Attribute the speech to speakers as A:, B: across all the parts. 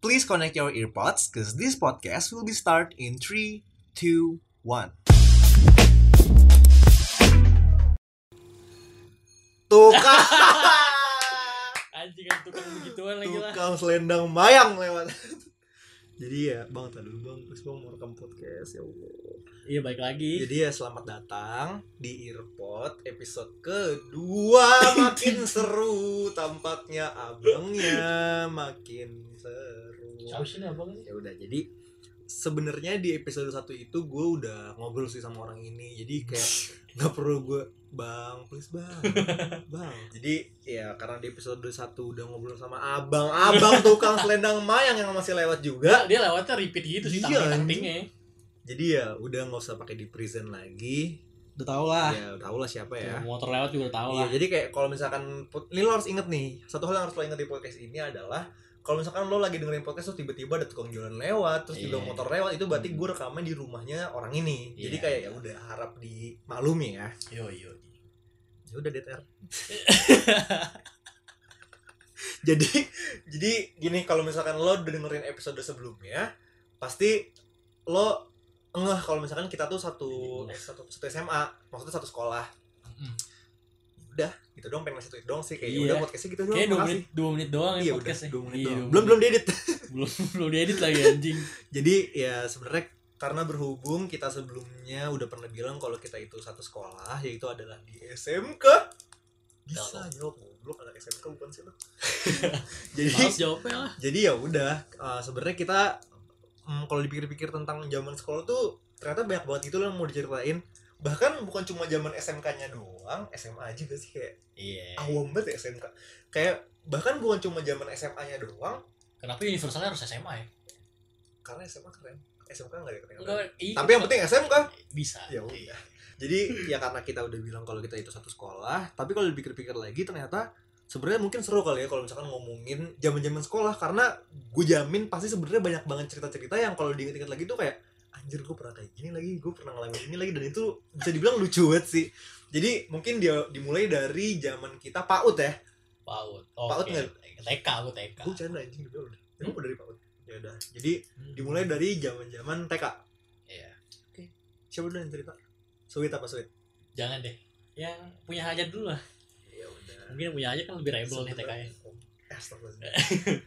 A: Please connect your earpods because this podcast will be start in 3, 2, 1. Tukang
B: Anjing kan tukang begituan lagi lah.
A: tukang selendang mayang lewat. Jadi ya, Bang, tadi dulu Bang, terus Bang mau rekam podcast ya. Allah.
B: Iya baik lagi.
A: Jadi ya selamat datang di Earpod episode kedua makin seru tampaknya abangnya makin seru.
B: sih nih abang
A: Ya udah jadi sebenarnya di episode satu itu gue udah ngobrol sih sama orang ini jadi kayak nggak perlu gue bang please bang bang jadi ya karena di episode satu udah ngobrol sama abang abang tukang selendang mayang yang masih lewat juga
B: Dia lewatnya repeat gitu sih
A: Iya,
B: tapi
A: anjing.
B: pentingnya.
A: jadi ya udah nggak usah pakai di present lagi
C: udah tau lah
B: Ah.
A: ya tau lah siapa ya
B: Motor lewat juga udah tahu
A: Iya,
B: lah.
A: jadi kayak kalau misalkan pod- ini lo harus inget nih, satu hal yang harus lo inget di podcast ini adalah kalau misalkan lo lagi dengerin podcast terus tiba-tiba ada tukang jualan lewat, terus juga
B: Iya.
A: motor lewat, itu berarti
B: Hmm.
A: gue rekaman di rumahnya orang ini. Jadi
B: Iya.
A: kayak ya udah harap dimaklumi ya.
B: Yo yo.
A: Ya udah DTR. jadi jadi gini kalau misalkan lo dengerin episode sebelumnya, pasti lo ngeh kalau misalkan kita tuh satu
B: Iya.
A: satu, satu SMA, maksudnya satu sekolah gitu dong pengen ngasih tweet dong sih kayak
B: Iya.
A: udah podcastnya gitu doang
B: Kayaknya dua
A: makasih
B: menit, dua menit doang ya
A: iya udah
B: podcastnya.
A: dua menit
B: Iya,
A: doang
B: dua
A: belum belum
B: menit.
A: diedit
B: belum belum diedit lagi anjing.
A: jadi ya sebenarnya karena berhubung kita sebelumnya udah pernah bilang kalau kita itu satu sekolah yaitu adalah di SMK bisa jawab goblok anak SMK bukan sih lo jadi
B: Harus jawabnya lah.
A: jadi ya udah eh, sebenarnya kita mm, kalau dipikir-pikir tentang zaman sekolah tuh ternyata banyak banget itu loh yang mau diceritain bahkan bukan cuma zaman SMK-nya doang SMA aja gak sih kayak
B: Iya.
A: awam banget ya SMK kayak bahkan bukan cuma zaman SMA-nya doang
B: Kenapa universalnya harus SMA ya?
A: Iya. karena SMA keren SMK nggak ada keren
B: Enggak, iya.
A: tapi yang penting SMK
B: bisa.
A: ya udah jadi ya karena kita udah bilang kalau kita itu satu sekolah tapi kalau dipikir-pikir lagi ternyata sebenarnya mungkin seru kali ya kalau misalkan ngomongin zaman-zaman sekolah karena gue jamin pasti sebenarnya banyak banget cerita-cerita yang kalau diinget-inget lagi tuh kayak anjir gue pernah kayak gini lagi gue pernah ngalamin ini lagi dan itu bisa dibilang lucu banget sih jadi mungkin dia dimulai dari zaman kita PAUD ya
B: Paut.
A: Paut
B: Oke.
A: nggak?
B: TK gua TK.
A: gue canda anjing demi Allah. emang udah dari PAUD ya udah jadi
B: Hmm.
A: dimulai dari zaman-zaman TK
B: Iya.
A: siapa dulu yang cerita Sweet apa Sweet?
B: Jangan deh. Yang punya hajat dulu lah.
A: Ya udah.
B: Mungkin yang punya hajat kan lebih rebel nih TK nya.
A: Gue Eh,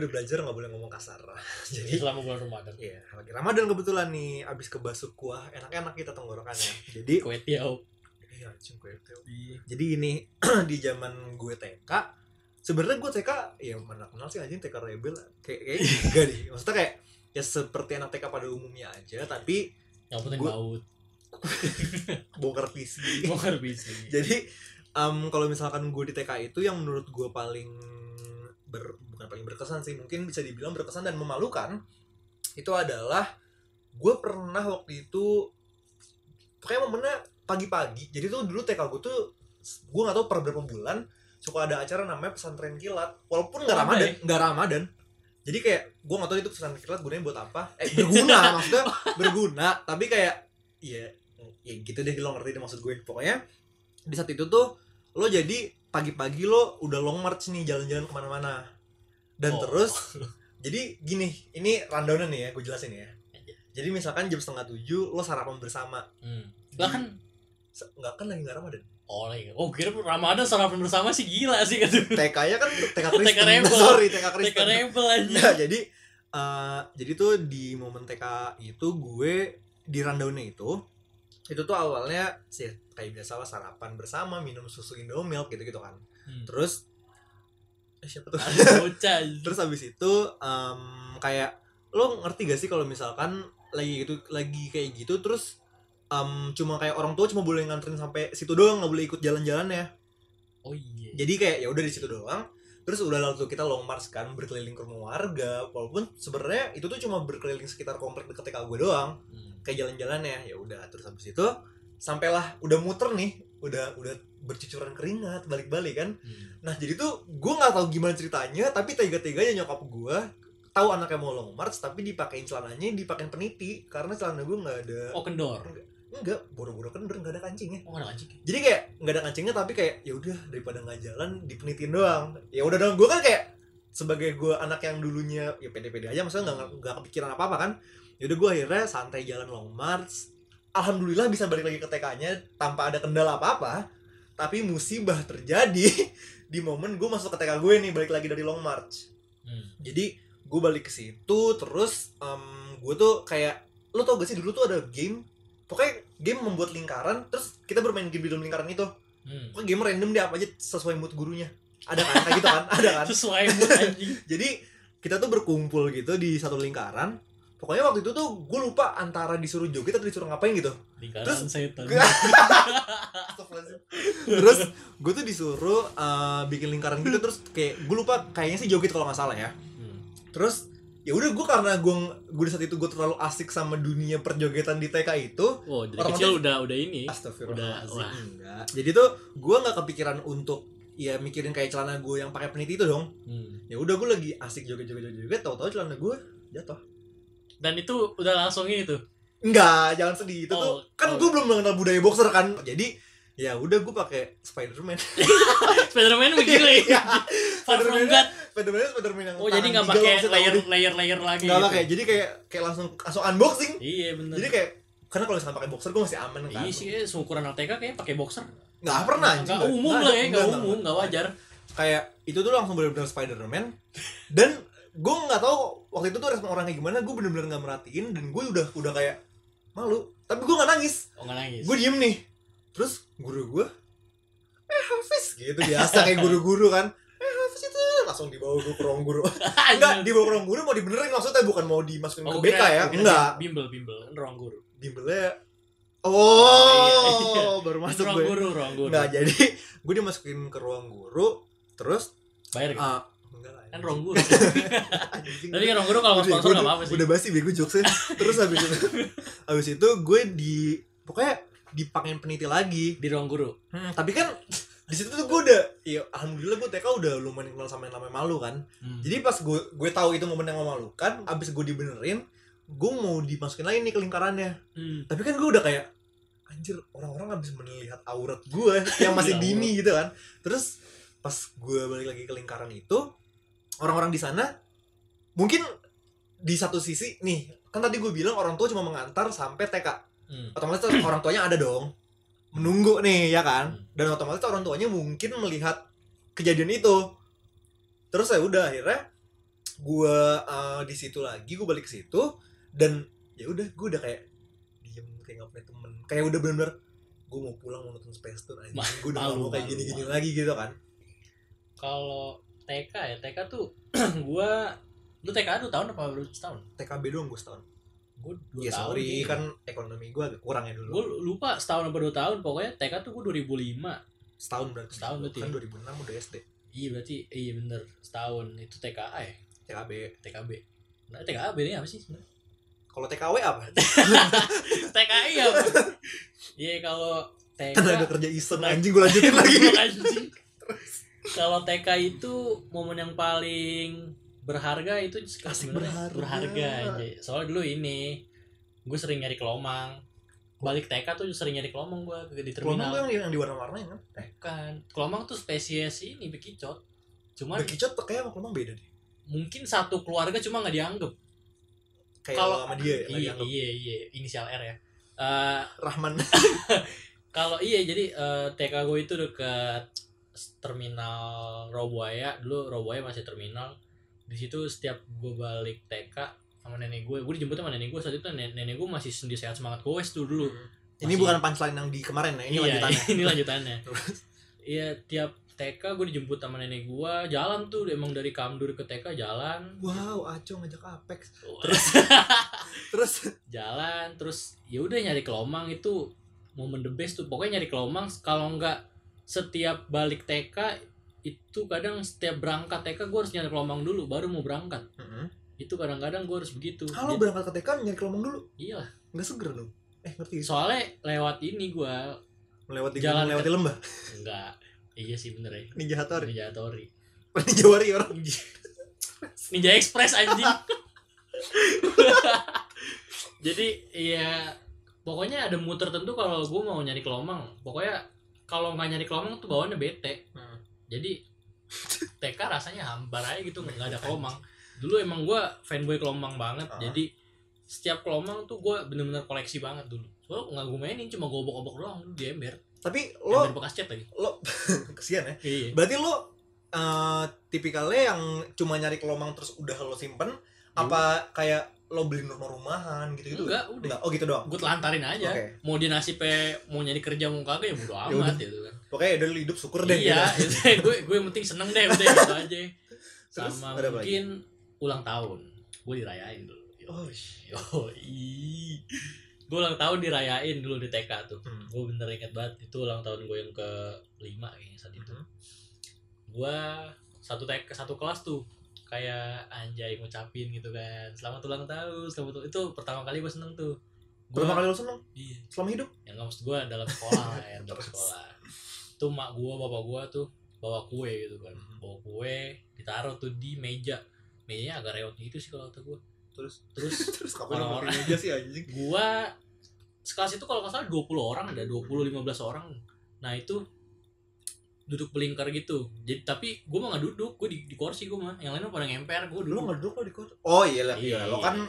A: udah belajar nggak boleh ngomong kasar.
B: Jadi
A: Jadi
B: selama bulan Ramadan.
A: Iya, lagi Ramadan kebetulan nih abis kebasuk kuah enak-enak kita tenggorokannya. Jadi
B: Kue tiau.
A: iya, anjing gue itu. Jadi ini di zaman gue TK sebenarnya gue TK ya mana kenal sih anjing TK rebel kayak kayak enggak deh. Maksudnya kayak ya seperti anak TK pada umumnya aja tapi
B: Yang penting
A: Gua-
B: paut.
A: bongkar PC.
B: Gua nggak bisa.
A: jadi em, kalau misalkan gue di TK itu yang menurut gue paling ber- bukan paling berkesan sih mungkin bisa dibilang berkesan dan memalukan itu adalah gue pernah waktu itu pokoknya momennya pagi-pagi jadi tuh dulu TK gue tuh gue nggak tahu per berapa bulan suka ada acara namanya pesantren kilat walaupun nggak
B: Apa
A: ramadan
B: ya?
A: nggak ramadan jadi kayak gue nggak tahu itu pesantren kilat gunanya buat apa eh berguna maksudnya berguna tapi kayak ya ya gitu deh lo ngerti deh maksud gue pokoknya di saat itu tuh lo jadi pagi-pagi lo udah long march nih jalan-jalan kemana-mana dan
B: Oh.
A: terus jadi gini ini rundownnya nih ya gue jelasin ya
B: Iya.
A: jadi misalkan jam setengah tujuh lo sarapan bersama
B: Hmm. Lah kan
A: Se- nggak kan lagi nggak ramadan
B: oh lagi. Oh, kira Ramadan sarapan bersama sih gila sih gitu.
A: TK-nya kan TK Kristen.
B: rebel.
A: Sorry, TK
B: TK
A: Kristen.
B: rebel aja.
A: Nah, jadi eh, jadi tuh di momen TK itu gue di rundownnya itu itu tuh awalnya sih kayak biasa lah sarapan bersama minum susu Indomilk gitu-gitu kan.
B: Hmm.
A: Terus eh, siapa tuh?
B: Bocah.
A: Terus abis itu em, kayak lo ngerti gak sih kalau misalkan lagi gitu lagi kayak gitu terus em, cuma kayak orang tua cuma boleh nganterin sampai situ doang nggak boleh ikut jalan-jalan ya
B: Oh iya.
A: jadi kayak ya udah di situ doang terus udah lalu kita long march kan berkeliling ke rumah warga walaupun sebenarnya itu tuh cuma berkeliling sekitar komplek deket TK gue doang
B: Hmm.
A: kayak jalan-jalannya ya udah terus habis itu sampailah udah muter nih udah udah bercucuran keringat balik-balik kan
B: Hmm.
A: nah jadi tuh gue nggak tahu gimana ceritanya tapi tega-teganya nyokap gue tahu anaknya mau long march tapi dipakein celananya dipakein peniti karena celana gue nggak ada
B: Oh kendor.
A: enggak boro-boro kendor nggak ada kancingnya
B: Oh ada anjing.
A: jadi kayak nggak ada kancingnya tapi kayak ya udah daripada nggak jalan dipenitin doang ya udah dong gue kan kayak sebagai gue anak yang dulunya ya pede-pede aja maksudnya nggak nggak kepikiran apa-apa kan yaudah gue akhirnya santai jalan long march alhamdulillah bisa balik lagi ke TK-nya tanpa ada kendala apa-apa tapi musibah terjadi di momen gue masuk ke TK gue nih balik lagi dari long march
B: Hmm.
A: jadi gue balik ke situ terus em, gue tuh kayak lo tau gak sih dulu tuh ada game pokoknya game membuat lingkaran terus kita bermain game di dalam lingkaran itu
B: Hmm.
A: pokoknya game random deh apa aja sesuai mood gurunya ada kan kayak gitu kan ada kan
B: Sesuai mood anjing.
A: jadi kita tuh berkumpul gitu di satu lingkaran pokoknya waktu itu tuh gue lupa antara disuruh joget atau disuruh ngapain gitu
B: Lingkaran
A: Terus-
B: setan.
A: Astagfirullahaladzim. terus gue tuh disuruh eh, bikin lingkaran gitu terus kayak gue lupa kayaknya sih joget kalau nggak salah ya
B: Hmm.
A: terus ya udah gue karena gue gue di saat itu gue terlalu asik sama dunia perjogetan di TK itu
B: Wow, Oh, dari
A: Orang
B: kecil
A: mati-
B: udah udah ini. Udah,
A: Astagfirullahaladzim
B: wah.
A: enggak jadi tuh gue nggak kepikiran untuk ya mikirin kayak celana gue yang pakai peniti itu dong
B: Hmm.
A: ya udah gue lagi asik joget joget joget joget tau tau celana gue jatuh
B: Dan itu udah langsung ini tuh.
A: enggak jangan sedih itu tuh
B: Oh,
A: kan
B: oh.
A: gue belum mengenal budaya boxer kan jadi ya udah gue pakai Spiderman
B: Spiderman begini.
A: Iya.
B: Far from God.
A: Spiderman Spiderman yang
B: Oh, jadi
A: tangan tiga
B: nggak pakai
A: langsung tahu
B: layer
A: deh.
B: layer layer lagi.
A: nggak
B: gitu.
A: pakai jadi kayak kayak langsung langsung unboxing
B: Iya benar.
A: jadi kayak karena kalau misalkan pakai boxer gue masih aman kan
B: Iya sih, kayaknya seukuran LTK kayaknya pakai boxer.
A: nggak pernah anjing.
B: Nggak umum lah ya, nggak umum, nggak
A: nggak.
B: wajar.
A: kayak itu tuh langsung bener-bener Spider-Man dan gue nggak tahu waktu itu tuh respon orang kayak gimana gue bener-bener nggak merhatiin dan gue udah udah kayak malu tapi gue nggak nangis
B: Oh nggak nangis.
A: gue diem nih terus guru gue eh Hafiz gitu biasa kayak guru-guru kan eh Hafiz itu langsung dibawa gue ke ruang guru enggak dibawa ke ruang guru mau dibenerin maksudnya bukan mau dimasukin
B: Oh,
A: ke BK ya enggak
B: Bimbel bimbel kan ruang guru.
A: bimbelnya
B: Oh, iya, iya.
A: oh baru masuk
B: ruang
A: gue
B: guru, ruang guru.
A: Nggak, jadi gue dimasukin ke ruang guru terus
B: Bayar kan?
A: ah, enggak lah
B: Kan
A: anjing.
B: ruang guru.
A: Anjing.
B: Tapi kan ruang guru kalau nggak
A: Udah,
B: sponsor
A: gua
B: nggak
A: udah-
B: apa-apa sih.
A: Udah basi bego jokesnya. Terus habis itu habis itu gue di pokoknya dipanggil peniti lagi.
B: Di ruang guru.
A: Hmm, tapi kan di situ tuh gue udah ya alhamdulillah gue TK udah lumayan kenal sama yang namanya malu kan.
B: Jadi
A: Jadi pas gue gue tahu itu momen yang memalukan, abis gue dibenerin, gue mau dimasukin lagi nih ke lingkarannya.
B: Hmm,
A: Tapi kan gue udah kayak anjir orang-orang habis melihat aurat gue yang masih
B: Iya,
A: dini gitu kan. Terus pas gue balik lagi ke lingkaran itu orang-orang di sana mungkin di satu sisi nih kan tadi gue bilang orang tua cuma mengantar sampai TK
B: Hmm.
A: otomatis orang tuanya ada dong menunggu nih ya kan
B: Hmm.
A: dan otomatis orang tuanya mungkin melihat kejadian itu terus ya udah akhirnya gue eh, di situ lagi gue balik ke situ dan ya udah gue udah kayak diem kayak nggak punya temen kayak udah bener-bener gue mau pulang mau nonton Space Tune aja
B: Wah,
A: gue udah nggak
B: malu,
A: mau kayak
B: malu,
A: gini-gini
B: malu.
A: lagi gitu kan
B: Kalau TK ya, TK tuh gua lu TK 2 tahun apa baru setahun?
A: TKB doang gue setahun
B: Gue
A: ya
B: 2 tahun.
A: sorry
B: kayaknya.
A: kan ekonomi gue agak kurang ya
B: gue
A: dulu
B: lupa setahun apa dua tahun pokoknya TK tuh gue 2005
A: setahun berarti
B: Setahun berarti
A: kan 2006
B: ya.
A: udah SD
B: iya berarti iya bener setahun itu TKA ya
A: TKB
B: TKB nah TKA bedanya apa sih sebenarnya?
A: kalau TKW apa
B: TKI apa iya kalau TK
A: kan ada kerja iseng anjing gue lanjutin lagi
B: Anjing. Iya, kalau TK itu momen yang paling berharga itu
A: Asik
B: sebenarnya
A: berharga.
B: berharga aja soalnya dulu ini gue sering nyari kelomang balik TK tuh sering nyari kelomang gue di
A: Kelomang
B: terminal
A: tuh yang, yang di warna-warnain kan? Eh,
B: kan kelomang tuh spesies ini bekicot cuman
A: bekicot tuh kayak sama kelomang beda deh.
B: mungkin satu keluarga cuma nggak dianggap
A: Kayak
B: Kalau-
A: sama dia ya, lagi
B: iya
A: anggap
B: iya iya inisial R ya Eh
A: Rahman.
B: kalau iya jadi eh, TK gue itu dekat terminal Robuaya dulu Robuaya masih terminal di situ setiap gue balik TK sama nenek gue gue dijemput sama nenek gue saat itu nenek, nenek gue masih sendi sehat semangat goes tuh dulu
A: ini
B: Masih-
A: bukan punchline yang di kemarin ya, ini
B: iya,
A: lanjutannya.
B: ini lanjutannya
A: Terus.
B: iya tiap TK gue dijemput sama nenek gue jalan tuh emang dari Kamdur ke TK jalan
A: Wow, Aco ngajak Apex.
B: terus
A: Terus
B: jalan terus ya udah nyari kelomang itu momen the best tuh pokoknya nyari kelomang kalau nggak setiap balik TK itu kadang setiap berangkat TK gue harus nyari kelomang dulu baru mau berangkat itu kadang-kadang gue harus begitu
A: kalau
B: Jadi-
A: berangkat ke TK nyari kelomang dulu,
B: Iya. iyalah
A: nggak seger dong. Eh, ngerti gak sih?
B: soalnya lewat ini gue
A: Melewati
B: Jalan
A: jalan melewati lembah.
B: enggak iya sih bener ya
A: Ninja Hattori.
B: Ninja Tori Iya.
A: Ninja Warrior.
B: Ninja Express anjing. Jadi ya pokoknya ada mood tertentu kalau Hmm. gue mau nyari kelomang. Pokoknya kalau nggak nyari kelomang tuh bawaannya bete. Jadi TK rasanya hambar aja gitu nggak ada kelomang dulu emang gue fanboy kelomang banget
A: Ah.
B: jadi setiap kelomang tuh gue bener-bener koleksi banget dulu soalnya nggak gue mainin cuma gue obok-obok doang dulu di ember
A: Tapi lo
B: ember bekas cat lagi
A: lo kesian ya.
B: iya
A: Berarti lo eh, tipikalnya yang cuma nyari kelomang terus udah lo simpen apa kayak lo beli rumah rumahan gitu-gitu?
B: Iya. enggak udah Iya.
A: Enggak. Oh gitu doang.
B: gue telantarin aja
A: Oke.
B: mau dia nasibnya mau nyari kerja mau kagak ya bodo amat gitu kan
A: Pokoknya udah lo hidup syukur deh.
B: iya
A: gitu.
B: itu gue gue yang penting seneng deh udah gitu aja
A: Terus
B: sama
A: ada apa lagi?
B: mungkin ulang tahun gue dirayain dulu Yo,
A: Oh,
B: gue ulang tahun dirayain dulu di TK tuh
A: Hmm.
B: gue bener inget banget itu ulang tahun gue yang ke lima kayaknya saat itu gue satu TK satu kelas tuh kayak anjay ngucapin gitu kan selamat ulang tahun selamat ulang- itu pertama kali gue seneng tuh Gua-
A: Berapa kali lo seneng
B: iya
A: selama hidup?
B: yang nggak maksud gue dalam sekolah lah ya dalam
A: Terus.
B: sekolah tuh mak gue bapak gue tuh bawa kue gitu kan bawa kue ditaruh tuh di meja mejanya agak reot gitu sih kalau kata gue
A: Terus
B: terus
A: terus kapan lo
B: Orang-orang.
A: ngerti aja sih anjing?
B: gue sekelas itu kalau nggak salah 20 orang ada 20 15 orang nah itu duduk belingkar gitu jadi tapi gue mah nggak duduk gue di, di kursi gue mah yang lain mah pada ngemper gue
A: Lo
B: duduk
A: nggak duduk lo di kota? Oh iya lah.
B: Iya.
A: Iya. Lo kan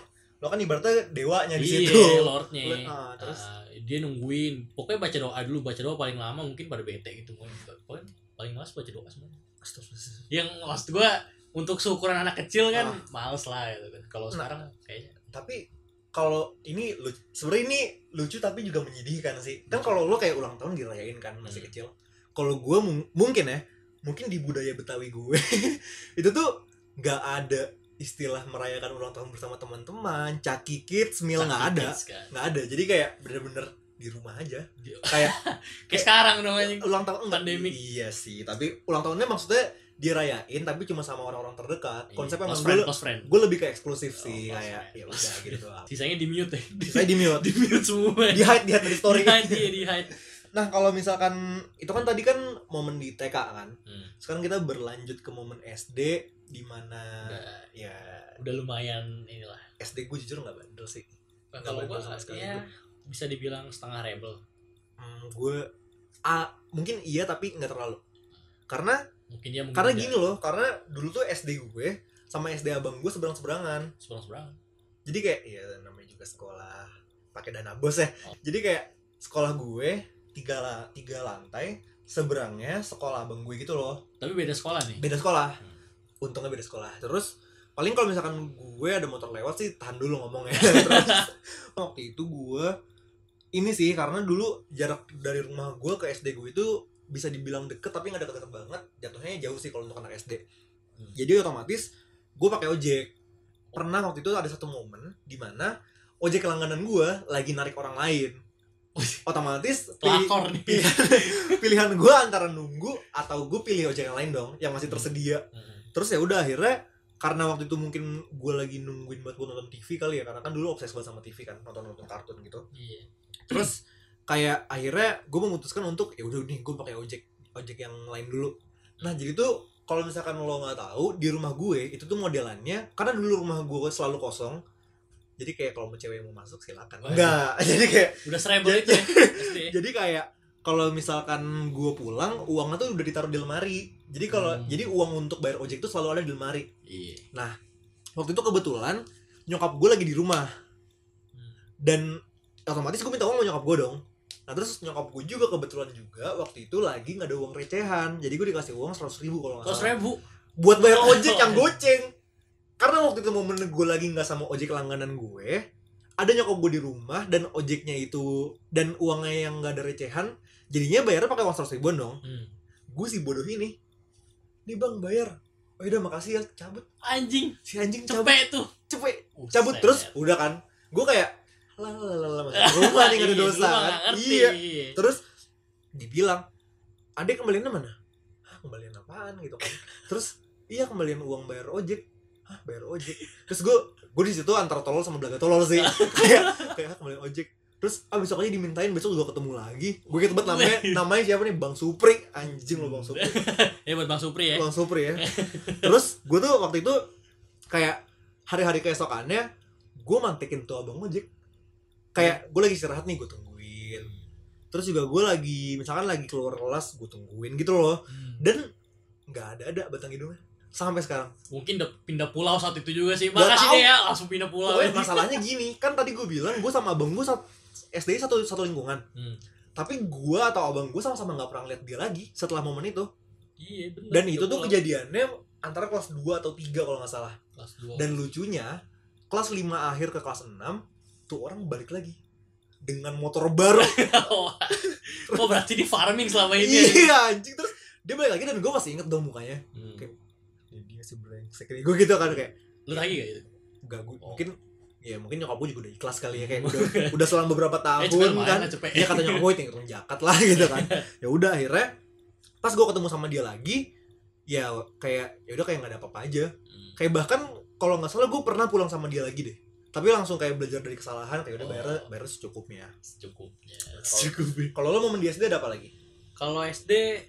A: lo kan ibaratnya dewanya di situ.
B: iya lordnya
A: Lo- ah, terus
B: Ah, dia nungguin pokoknya baca doa dulu baca doa paling lama mungkin pada bete gitu pokoknya paling males baca doa semua
A: Astagfirullahaladzim.
B: yang maksud gue untuk syukuran anak kecil kan
A: Ah.
B: males lah gitu kan kalau
A: Nah.
B: sekarang kayaknya
A: tapi kalau ini lu- sebenarnya ini lucu tapi juga menyedihkan sih kan kalau lo kayak ulang tahun dirayain kan masih
B: Hmm.
A: kecil kalau gue mung- mungkin ya mungkin di budaya betawi gue itu tuh nggak ada istilah merayakan ulang tahun bersama teman-teman caki kids meal Iya, nggak
B: sakit
A: ada
B: kids kan.
A: nggak ada jadi kayak bener-bener di rumah aja
B: Di-
A: kayak
B: kayak sekarang dong anjing
A: ulang tahun enggak
B: Pandemi.
A: iya sih tapi ulang tahunnya maksudnya dirayain tapi cuma sama orang-orang terdekat konsepnya
B: Iya,
A: emang
B: close friend
A: gue
B: close friend
A: gue lebih ke eksklusif
B: Oh,
A: sih
B: close
A: kayak
B: friend.
A: ya udah gitu doang
B: sisanya di mute ya di,
A: saya di mute
B: di mute semua
A: di hide di hide dari story
B: di hide iya, di hide
A: nah kalau misalkan itu kan tadi kan momen di TK kan
B: Hmm.
A: sekarang kita berlanjut ke momen SD di mana
B: udah,
A: ya
B: udah lumayan inilah
A: SD gue jujur nggak bandel sih
B: Nah, kalau
A: bandel
B: gua
A: sama sekali
B: ya bisa dibilang setengah rebel
A: hmm, gue ah, mungkin iya tapi nggak terlalu karena
B: mungkin dia mungkin
A: karena
B: dia
A: gini loh karena dulu tuh SD gue sama SD abang gue seberang seberangan
B: seberang-seberang.
A: jadi kayak ya namanya juga sekolah pakai dana bos ya
B: Oh.
A: jadi kayak sekolah gue tiga la- tiga lantai seberangnya sekolah abang gue gitu loh
B: tapi beda sekolah nih
A: beda sekolah
B: Hmm.
A: untungnya beda sekolah terus paling kalau misalkan gue ada motor lewat sih tahan dulu ngomongnya terus waktu itu gue ini sih karena dulu jarak dari rumah gue ke SD gue itu bisa dibilang deket tapi nggak deket-deket banget jatuhnya jauh sih kalau untuk anak SD
B: Hmm.
A: jadi otomatis gue pakai ojek pernah waktu itu ada satu momen di mana ojek langganan gue lagi narik orang lain otomatis pi-
B: pelakor nih
A: pilihan, pilihan gue antara nunggu atau gue pilih ojek yang lain dong yang masih tersedia
B: Hmm.
A: terus ya udah akhirnya karena waktu itu mungkin gue lagi nungguin buat gue nonton TV kali ya karena kan dulu obses banget sama TV kan nonton nonton kartun gitu
B: iya
A: terus kayak akhirnya gue memutuskan untuk ya udah nih gue pakai ojek ojek yang lain dulu nah jadi tuh kalau misalkan lo nggak tahu di rumah gue itu tuh modelannya karena dulu rumah gue selalu kosong jadi kayak kalau mau cewek mau masuk silakan
B: Waduh.
A: enggak jadi kayak
B: udah serebel
A: Jadi-
B: itu ya SD
A: jadi kayak kalau misalkan gue pulang uangnya tuh udah ditaruh di lemari jadi kalau
B: Hmm.
A: jadi uang untuk bayar ojek tuh selalu ada di lemari
B: iya
A: waktu itu kebetulan nyokap gue lagi di rumah
B: Hmm.
A: dan otomatis gue minta uang sama nyokap gue dong nah terus nyokap gue juga kebetulan juga waktu itu lagi nggak ada uang recehan jadi gue dikasih uang seratus ribu kalau nggak
B: terus
A: salah
B: rebu
A: buat bayar ojek yang goceng karena waktu itu momen gue lagi nggak sama ojek langganan gue ada nyokap gue di rumah dan ojeknya itu dan uangnya yang nggak ada recehan jadinya bayarnya pakai uang seratus ribuan dong
B: Hmm.
A: gue si bodoh ini nih bang bayar oh udah makasih ya cabut
B: anjing
A: si anjing cabut
B: cepet tuh
A: cepet cabut terus udah kan gue kayak lah lah lah lah masuk rumah nih gak ada dosa kan
B: ya. iya
A: iya terus dibilang adek kembaliannya mana Hah, kembalian apaan gitu kan terus iya kembalian uang bayar ojek Hah, bayar ojek terus gue gue di situ antara tolol sama belaga tolol sih kayak kayak "Hah, kembalian ojek terus ah besok aja dimintain besok juga ketemu lagi gue gitu banget namanya namanya siapa nih bang Supri anjing lo bang Supri
B: ya buat bang Supri ya
A: Bang Supri ya. Terus gue tuh waktu itu kayak hari-hari keesokannya gue mantekin tuh abang ojek. Kayak gue lagi istirahat nih gue tungguin. Terus juga gue lagi misalkan lagi keluar kelas gue tungguin gitu loh.
B: Hmm.
A: Dan nggak ada ada batang hidungnya sampai sekarang
B: mungkin udah pindah pulau saat itu juga sih
A: Gak
B: makasih
A: tahu.
B: deh ya langsung pindah pulau
A: Pokoknya masalahnya gini kan tadi gue bilang gue sama abang gue sat- SD satu satu lingkungan
B: Hmm.
A: tapi gue atau abang gue sama-sama nggak pernah lihat dia lagi setelah momen itu
B: iya bener
A: dan
B: pindah
A: itu tuh
B: pulau.
A: kejadiannya antara kelas 2 atau 3 kalau nggak salah
B: kelas dua
A: dan lucunya kelas 5 akhir ke kelas 6 tuh orang balik lagi dengan motor baru
B: oh berarti di farming selama ini ya?
A: iya anjing terus dia balik lagi dan gue masih inget dong mukanya
B: Hmm.
A: Kayak- Ya, dia si brengsek gue gitu kan kayak
B: lu lagi gak gitu
A: gak gue
B: Oh.
A: mungkin ya mungkin nyokap gue juga udah ikhlas kali ya kayak udah udah selang beberapa
B: eh cepet
A: tahun kan
B: main lah cepet
A: dia kata nyokap gue tinggal turun jakat lah gitu kan ya udah akhirnya pas gue ketemu sama dia lagi ya kayak ya udah kayak nggak ada apa-apa aja
B: Hmm.
A: kayak bahkan kalau nggak salah gue pernah pulang sama dia lagi deh tapi langsung kayak belajar dari kesalahan kayak udah bayar
B: Oh.
A: bayar secukupnya
B: secukupnya
A: secukupnya kalau lo momen dia sendiri ada apa lagi
B: kalau SD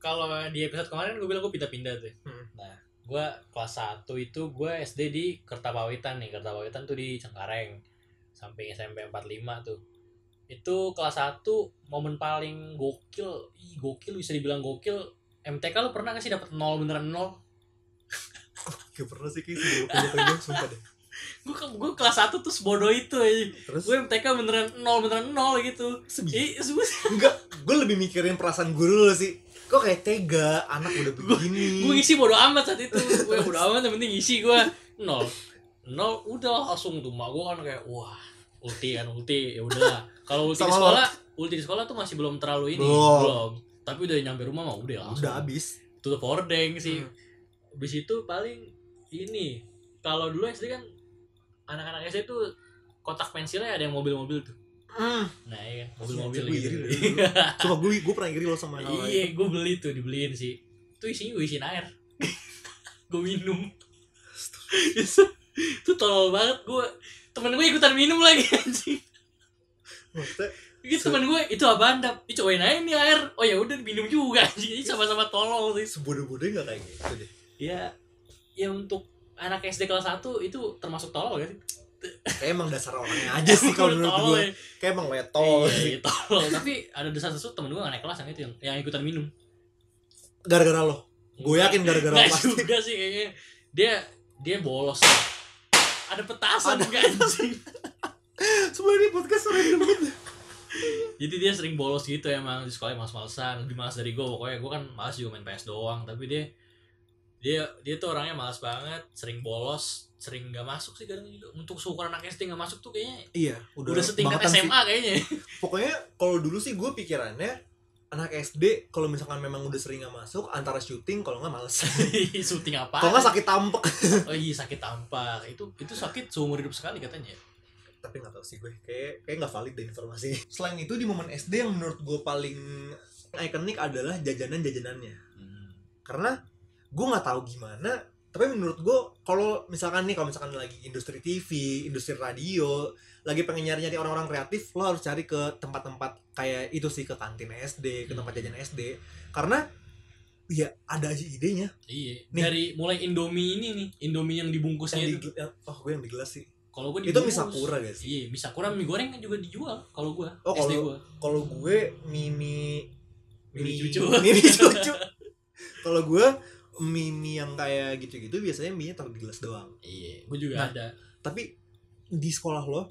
B: kalau di episode kemarin gue bilang gue pindah-pindah tuh
A: Hmm.
B: nah gue kelas 1 itu gue SD di Kertapawitan nih Kertapawitan tuh di Cengkareng samping SMP 45 tuh itu kelas 1 momen paling gokil ih gokil bisa dibilang gokil MTK lu pernah gak sih dapat nol beneran nol
A: gak pernah sih kayak sih punya tegang sumpah deh
B: gue gue kelas 1 tuh sebodoh itu eh.
A: terus
B: gue MTK beneran nol beneran nol gitu
A: sedih
B: Ih, gue
A: enggak gue lebih mikirin perasaan gue dulu sih kok kayak tega anak udah
B: gue
A: begini
B: ngisi bodo amat saat itu gue bodo amat yang penting ngisi gue nol nol udah langsung tuh mak gue kan kayak wah ulti kan ulti ya udah kalau ulti di
A: Sama
B: sekolah ulti di sekolah tuh masih belum terlalu ini
A: Belum.
B: belum tapi udah nyampe rumah mah udah langsung
A: udah habis
B: tutup hordeng
A: Iya.
B: sih
A: Hmm.
B: Abis itu paling ini kalau dulu SD kan anak-anak SD tuh kotak pensilnya ada yang mobil-mobil tuh
A: Hmm.
B: nah iya kan,
A: Anjing,
B: mobil-mobil
A: gue
B: gitu
A: iri dari dulu. Sumpah gue gue pernah iri lo sama hal lain.
B: iya gue beli tuh dibeliin sih itu isinya gue isiin air gue minum itu itu tolol banget gue temen gue ikutan minum lagi anjing
A: Maksudnya
B: gitu temen gue itu apaan dap Ih, cobain aja nih air oh ya udah minum juga anjing ini sama-sama tolol sih
A: sebodoh-bodoh gak kayak gitu deh.
B: ya ya untuk anak SD kelas 1 itu termasuk tolol gak sih
A: Kayak emang dasar orangnya
B: Iya
A: aja sih kalau menurut
B: Tolol
A: gue.
B: ya.
A: Kayak emang letol.
B: Iya, iya, tolol tapi ada dasar sesuatu temen gue gak naik kelas yang itu yang, yang ikutan minum
A: Gara-gara lo. Gue yakin gara-gara lo
B: Nggak
A: pasti.
B: juga sih kayaknya dia dia bolos ada petasan
A: Ada
B: juga anjing
A: Semua ini podcast random banget.
B: jadi dia sering bolos gitu emang di sekolah malas-malasan lebih malas dari gue pokoknya gue kan malas juga main PS doang tapi dia dia dia tuh orangnya malas banget sering bolos sering nggak masuk sih kadang juga untuk seukuran anak SD nggak masuk tuh kayaknya
A: Iya,
B: udah, setingkat
A: bangetan sih.
B: SMA kayaknya
A: Pokoknya kalau dulu sih gue pikirannya anak SD kalau misalkan memang udah sering nggak masuk antara syuting kalau nggak males
B: syuting apa
A: kalau nggak sakit tampek
B: oh iya sakit tampak itu itu sakit seumur hidup sekali katanya
A: tapi nggak tahu sih gue kayak kayak nggak valid deh informasi selain itu di momen SD yang menurut gue paling ikonik adalah jajanan jajanannya Hmm. karena gue nggak tahu gimana tapi menurut gue kalau misalkan nih kalau misalkan lagi industri TV, industri radio, lagi pengen nyari-nyari orang-orang kreatif, lo harus cari ke tempat-tempat kayak itu sih ke kantin SD, ke
B: Hmm.
A: tempat jajan SD, karena ya ada aja idenya.
B: iya
A: Nih.
B: dari mulai Indomie ini nih Indomie yang dibungkusnya
A: Yang
B: itu
A: di, yang- oh gue yang di gelas sih.
B: kalau gue
A: Itu misakura guys.
B: Iya, misakura mie goreng kan juga dijual kalau gua.
A: Oh,
B: SD
A: kalau-
B: gua.
A: Kalau gue mimi
B: Mimi cucu.
A: mimi cucu. kalau gue mimi yang kayak gitu-gitu biasanya mie taruh di gelas doang.
B: Iya, gua juga
A: Nah.
B: ada.
A: tapi di sekolah lo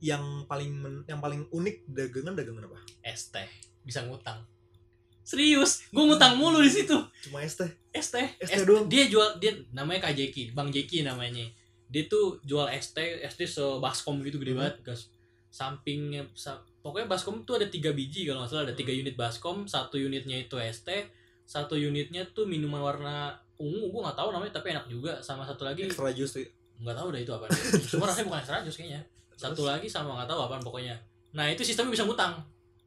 A: yang paling men- yang paling unik dagangan dagangan apa
B: Es teh bisa ngutang. Serius, gua ngutang mulu di situ.
A: cuma es teh
B: Es teh,
A: Es teh doang.
B: Dia jual dia namanya Kak Jeki, Bang Jeki namanya. Dia tuh jual es teh, es teh sebaskom gitu gede
A: Hmm.
B: banget, guys. Sampingnya sa- pokoknya baskom tuh ada tiga biji kalau nggak salah ada
A: Hmm.
B: tiga unit baskom, satu unitnya itu es teh, satu unitnya tuh minuman warna ungu, gua nggak tahu namanya tapi enak juga sama satu lagi
A: extra jus tuh
B: nggak tahu dah itu apa cuma rasanya bukan extra jus kayaknya satu lagi sama nggak tahu apaan pokoknya nah itu sistemnya bisa ngutang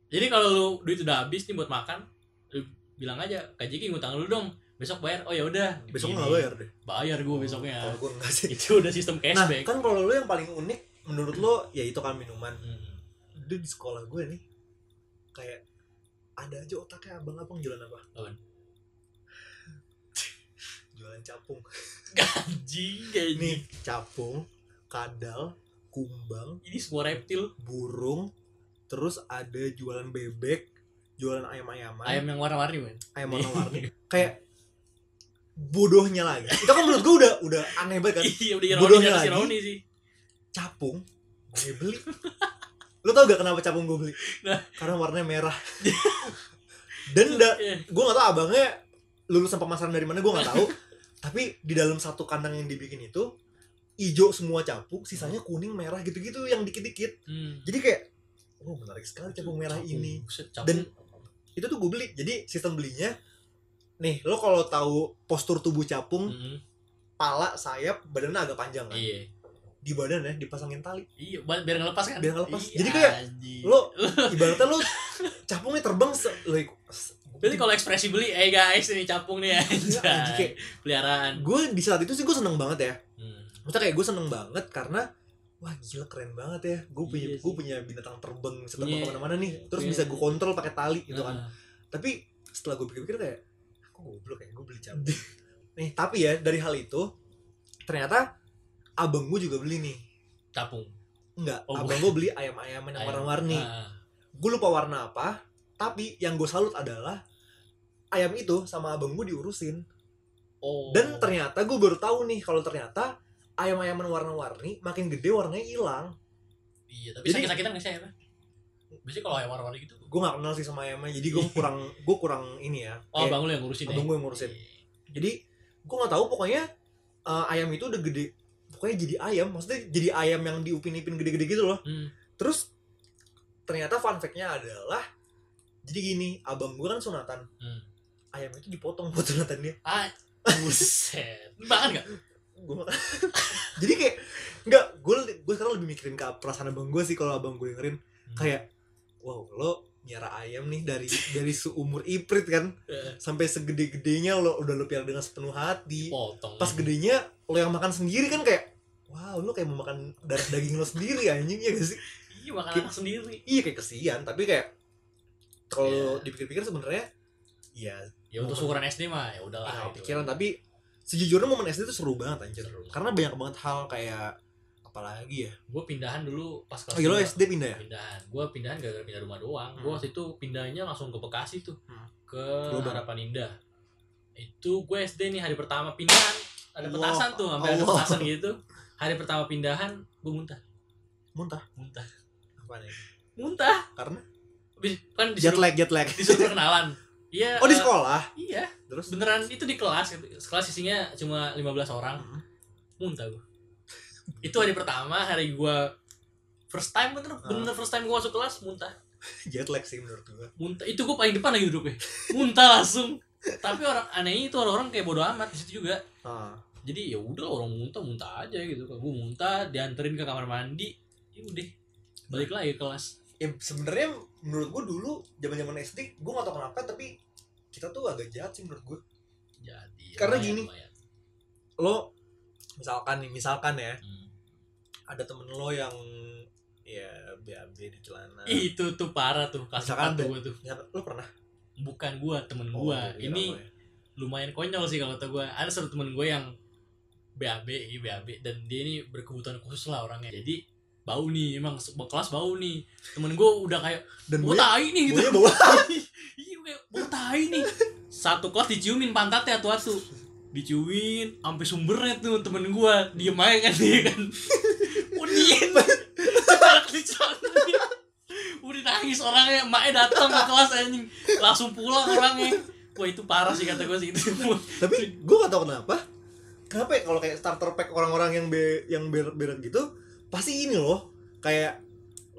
B: jadi kalau lu duit udah habis nih buat makan lu bilang aja Kak Jiki ngutang lu dong besok bayar oh ya udah
A: besok
B: Gini.
A: nggak bayar deh
B: bayar gue besoknya
A: kalau gue nggak sih
B: itu udah sistem
A: nah
B: cashback
A: kan kalau lo yang paling unik menurut lo ya itu kan minuman
B: Hmm.
A: Dia di sekolah gue nih kayak ada aja otaknya abang abang jualan apa
B: Apaan?
A: jualan capung
B: anjing kayak ini
A: nih capung kadal kumbang
B: ini semua reptil
A: burung terus ada jualan bebek jualan ayam ayaman Nah.
B: ayam yang warna-warni men
A: ayam warna-warni kayak bodohnya lagi itu kan menurut gue udah udah aneh banget kan
B: iya udah ironi
A: Bodohnya
B: di atas
A: lagi.
B: ironi sih
A: capung gue beli lu tau gak kenapa capung gue beli
B: Nah.
A: karena warnanya merah denda
B: Iya.
A: gue gak tau abangnya lulusan pemasaran dari mana gue gak tahu tapi di dalam satu kandang yang dibikin itu ijo semua capung sisanya kuning merah gitu-gitu yang dikit-dikit
B: Hmm.
A: jadi kayak oh menarik sekali capung merah ini
B: Buset,
A: Dan- itu tuh gue beli jadi sistem belinya nih lo kalau tahu postur tubuh capung
B: Mm-mm.
A: pala sayap badannya agak panjang kan
B: Hmm. iya
A: di badan ya dipasangin tali
B: iya ba- biar ngelepas kan
A: Biar ngelepas.
B: Iya,
A: Jadi kayak,
B: anjing.
A: lo ibaratnya lo capungnya terbang se lo
B: berarti kalau ekspresi beli eh guys ini capung
A: Iya,
B: nih anjay peliharaan
A: gue di saat itu sih gue seneng banget ya
B: Hmm.
A: maksudnya kayak gue seneng banget karena wah gila keren banget ya gue punya
B: Iya sih. Iya,
A: gue punya binatang terbang bisa terbang
B: Punya-
A: kemana-mana nih terus
B: punya-
A: bisa gue kontrol pakai tali gitu kan
B: Nah,
A: tapi setelah gue pikir-pikir kayak aku goblok ya gue beli cabai nih tapi ya dari hal itu ternyata abang gue juga beli nih
B: capung
A: enggak
B: Oh,
A: abang gue beli ayam-ayaman yang
B: Ayam.
A: warna-warni
B: Ah,
A: gue lupa warna apa tapi yang gue salut adalah ayam itu sama abang gue diurusin
B: oh
A: dan ternyata gue baru tahu nih kalau ternyata ayam-ayaman warna-warni makin gede warnanya hilang
B: iya tapi
A: Jadi-
B: sakit-sakitan nggak sih ayamnya biasanya kalau ayam warna-warni gitu
A: gue nggak kenal sih sama ayamnya jadi gue kurang gue kurang ini ya
B: oh
A: kayak
B: bang lu yang ngurusin
A: abang gue yang ngurusin jadi gue nggak tahu pokoknya eh, ayam itu udah gede pokoknya jadi ayam maksudnya jadi ayam yang diupin-ipin gede-gede gitu loh
B: Hmm.
A: terus ternyata fun fact-nya adalah jadi gini abang gue kan sunatan
B: Hmm.
A: ayam itu dipotong buat sunatan dia
B: ah buset Lu makan nggak
A: gue jadi kayak nggak gue gue sekarang lebih mikirin ke perasaan abang gue sih kalau abang gue dengerin
B: Hmm.
A: kayak wow lo nyara ayam nih dari dari seumur iprit kan
B: Eh,
A: sampai segede-gedenya lo udah lo piara dengan sepenuh hati
B: potong
A: pas gedenya lo yang makan sendiri kan kayak wow lo kayak mau makan darah daging lo sendiri anjing ya gak sih
B: iya makan anak sendiri
A: iya kayak kesian tapi kayak kalau
B: Iya.
A: dipikir-pikir sebenarnya ya
B: ya untuk
A: Momen.
B: ukuran SD mah ya udahlah
A: ah,
B: itu.
A: pikiran tapi sejujurnya momen SD itu seru banget anjir
B: Seru.
A: karena banyak banget hal kayak apalagi ya
B: gue pindahan dulu pas
A: oh
B: kelas
A: iya lo
B: dua.
A: SD pindah ya
B: pindahan gue pindahan gak gara pindah rumah doang gue
A: Hmm.
B: waktu itu pindahnya langsung ke Bekasi tuh
A: Hmm.
B: ke
A: Lubang.
B: Harapan Indah itu gue SD nih hari pertama pindahan ada
A: Allah.
B: petasan tuh sampai ada
A: Allah.
B: petasan gitu hari pertama pindahan gue muntah
A: muntah
B: muntah
A: apa nih
B: muntah
A: Karena?
B: Abis- kan
A: jet
B: disuruh,
A: lag jet lag
B: disuruh kenalan iya
A: oh di
B: eh,
A: sekolah
B: iya
A: terus
B: beneran itu di kelas gitu. kelas isinya cuma 15 orang
A: Hmm.
B: muntah gue itu hari pertama hari gue first time bener
A: Ah.
B: bener first time gue masuk kelas muntah
A: jet lag sih menurut gue
B: muntah itu gue paling depan lagi duduknya muntah langsung tapi orang anehnya itu orang-orang kayak bodo amat di situ juga
A: ah.
B: jadi ya udah orang muntah muntah aja gitu kan gue muntah dianterin ke kamar mandi ya udah balik lagi ke kelas
A: ya sebenarnya menurut gue dulu zaman zaman SD gue gak tau kenapa tapi kita tuh agak jahat sih menurut gue
B: jadi
A: Karena
B: lumayan,
A: gini.
B: lumayan.
A: lo misalkan nih misalkan ya
B: Hmm.
A: ada temen lo yang ya BAB di celana
B: Ih, itu tuh parah tuh kelas
A: Misalkan
B: empat tuh gue tuh
A: Ya, lo pernah
B: bukan gue temen
A: Oh,
B: gue
A: kira
B: ini
A: lo ya.
B: lumayan konyol sih kalau tau gue ada satu temen gue yang BAB ini BAB dan dia ini berkebutuhan khusus lah orangnya jadi bau nih emang se- kelas bau nih temen gue udah kayak
A: dan ya,
B: bau
A: gue
B: tai nih gitu
A: baunya bau
B: iya kayak bau tai nih satu kelas diciumin pantatnya tuh atu diciumin sampai sumbernya tuh temen gua diem aja kan dia kan udin sekarang dicolongin udah nangis orangnya emaknya datang ke kelas anjing langsung pulang orangnya wah itu parah sih kata gua sih itu
A: tapi gue gak tau kenapa kenapa ya kalau kayak starter pack orang-orang yang be yang beret-beret gitu pasti ini loh kayak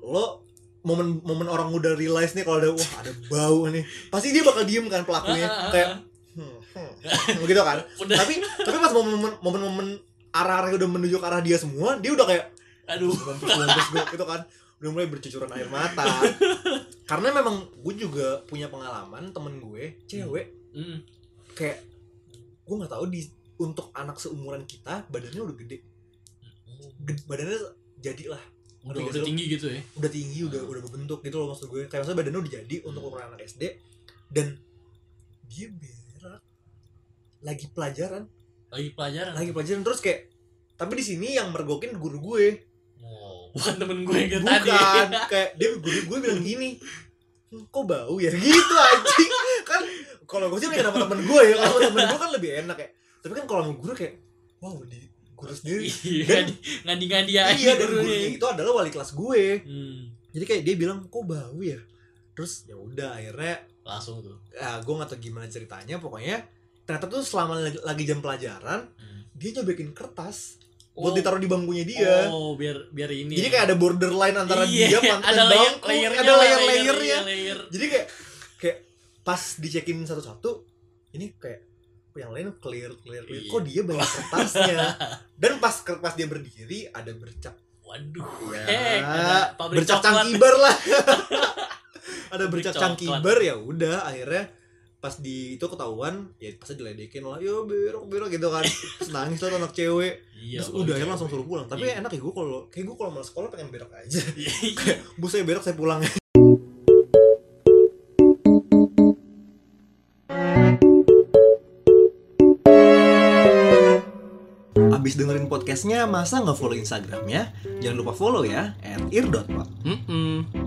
A: lo momen momen orang udah realize nih kalau ada wah ada bau nih pasti dia bakal diem kan pelakunya kayak hmm, hmm, gitu kan
B: udah
A: tapi tapi pas momen-momen momen-momen arah arahnya udah menuju ke arah dia semua dia udah kayak
B: aduh
A: mampus mampus gue gitu kan udah mulai bercucuran air mata karena memang gue juga punya pengalaman temen gue cewek
B: Mm.
A: kayak gue nggak tahu di untuk anak seumuran kita badannya udah gede, Ged- badannya jadilah
B: udah, udah tinggi gitu ya
A: udah tinggi udah udah berbentuk gitu loh maksud gue kayak maksudnya badannya udah jadi
B: Hmm.
A: untuk ukuran anak SD dan dia berak lagi pelajaran
B: lagi pelajaran
A: lagi pelajaran terus kayak tapi di sini yang mergokin guru gue
B: Oh, bukan temen gue yang kayak tadi
A: bukan kayak dia guru gue bilang gini "Hmm, kok bau ya gitu anjing kan kalau gue sih mikir sama temen gue ya kalau sama temen gue kan lebih enak ya tapi kan kalau sama guru kayak wow di guru sendiri
B: Iya, ngadi-ngadi aja
A: iya dan
B: dulu
A: gurunya
B: nih.
A: itu adalah wali kelas gue
B: Hmm,
A: jadi kayak dia bilang kok bau ya terus ya udah akhirnya
B: langsung tuh.
A: ah, gue nggak tahu gimana ceritanya pokoknya ternyata tuh selama lagi, lagi jam pelajaran
B: Hmm.
A: dia nyobekin kertas
B: Oh,
A: buat ditaruh di bangkunya dia
B: Oh, biar biar ini. Iya,
A: jadi kayak ada borderline antara dia mantan
B: ada layer,
A: bangku
B: layernya iya.
A: ada
B: lah,
A: layer-layernya
B: layer.
A: jadi kayak kayak pas dicekin satu-satu ini kayak "Oh, yang lain clear clear
B: Iya.
A: clear kok dia banyak kertasnya dan pas kertas dia berdiri ada bercak
B: Waduh.
A: ya
B: Heck, ada pabrik
A: bercak
B: coklat.
A: cangkibar lah ada
B: Pabrik
A: bercak
B: coklat.
A: cangkibar ya udah akhirnya pas di itu ketahuan ya pasti diledekin lah yo berok berok gitu kan terus nangis lah tuh anak cewek
B: Iya.
A: terus udah ya
B: cewek.
A: langsung suruh pulang tapi
B: Iya.
A: enak ya gue kalau kayak gue kalau malas sekolah pengen berok aja
B: Iya.
A: bu saya berok saya pulang Abis dengerin ya, podcastnya, masa nggak follow Instagramnya? Jangan lupa follow ya, at ir.pod.
C: Mm-mm.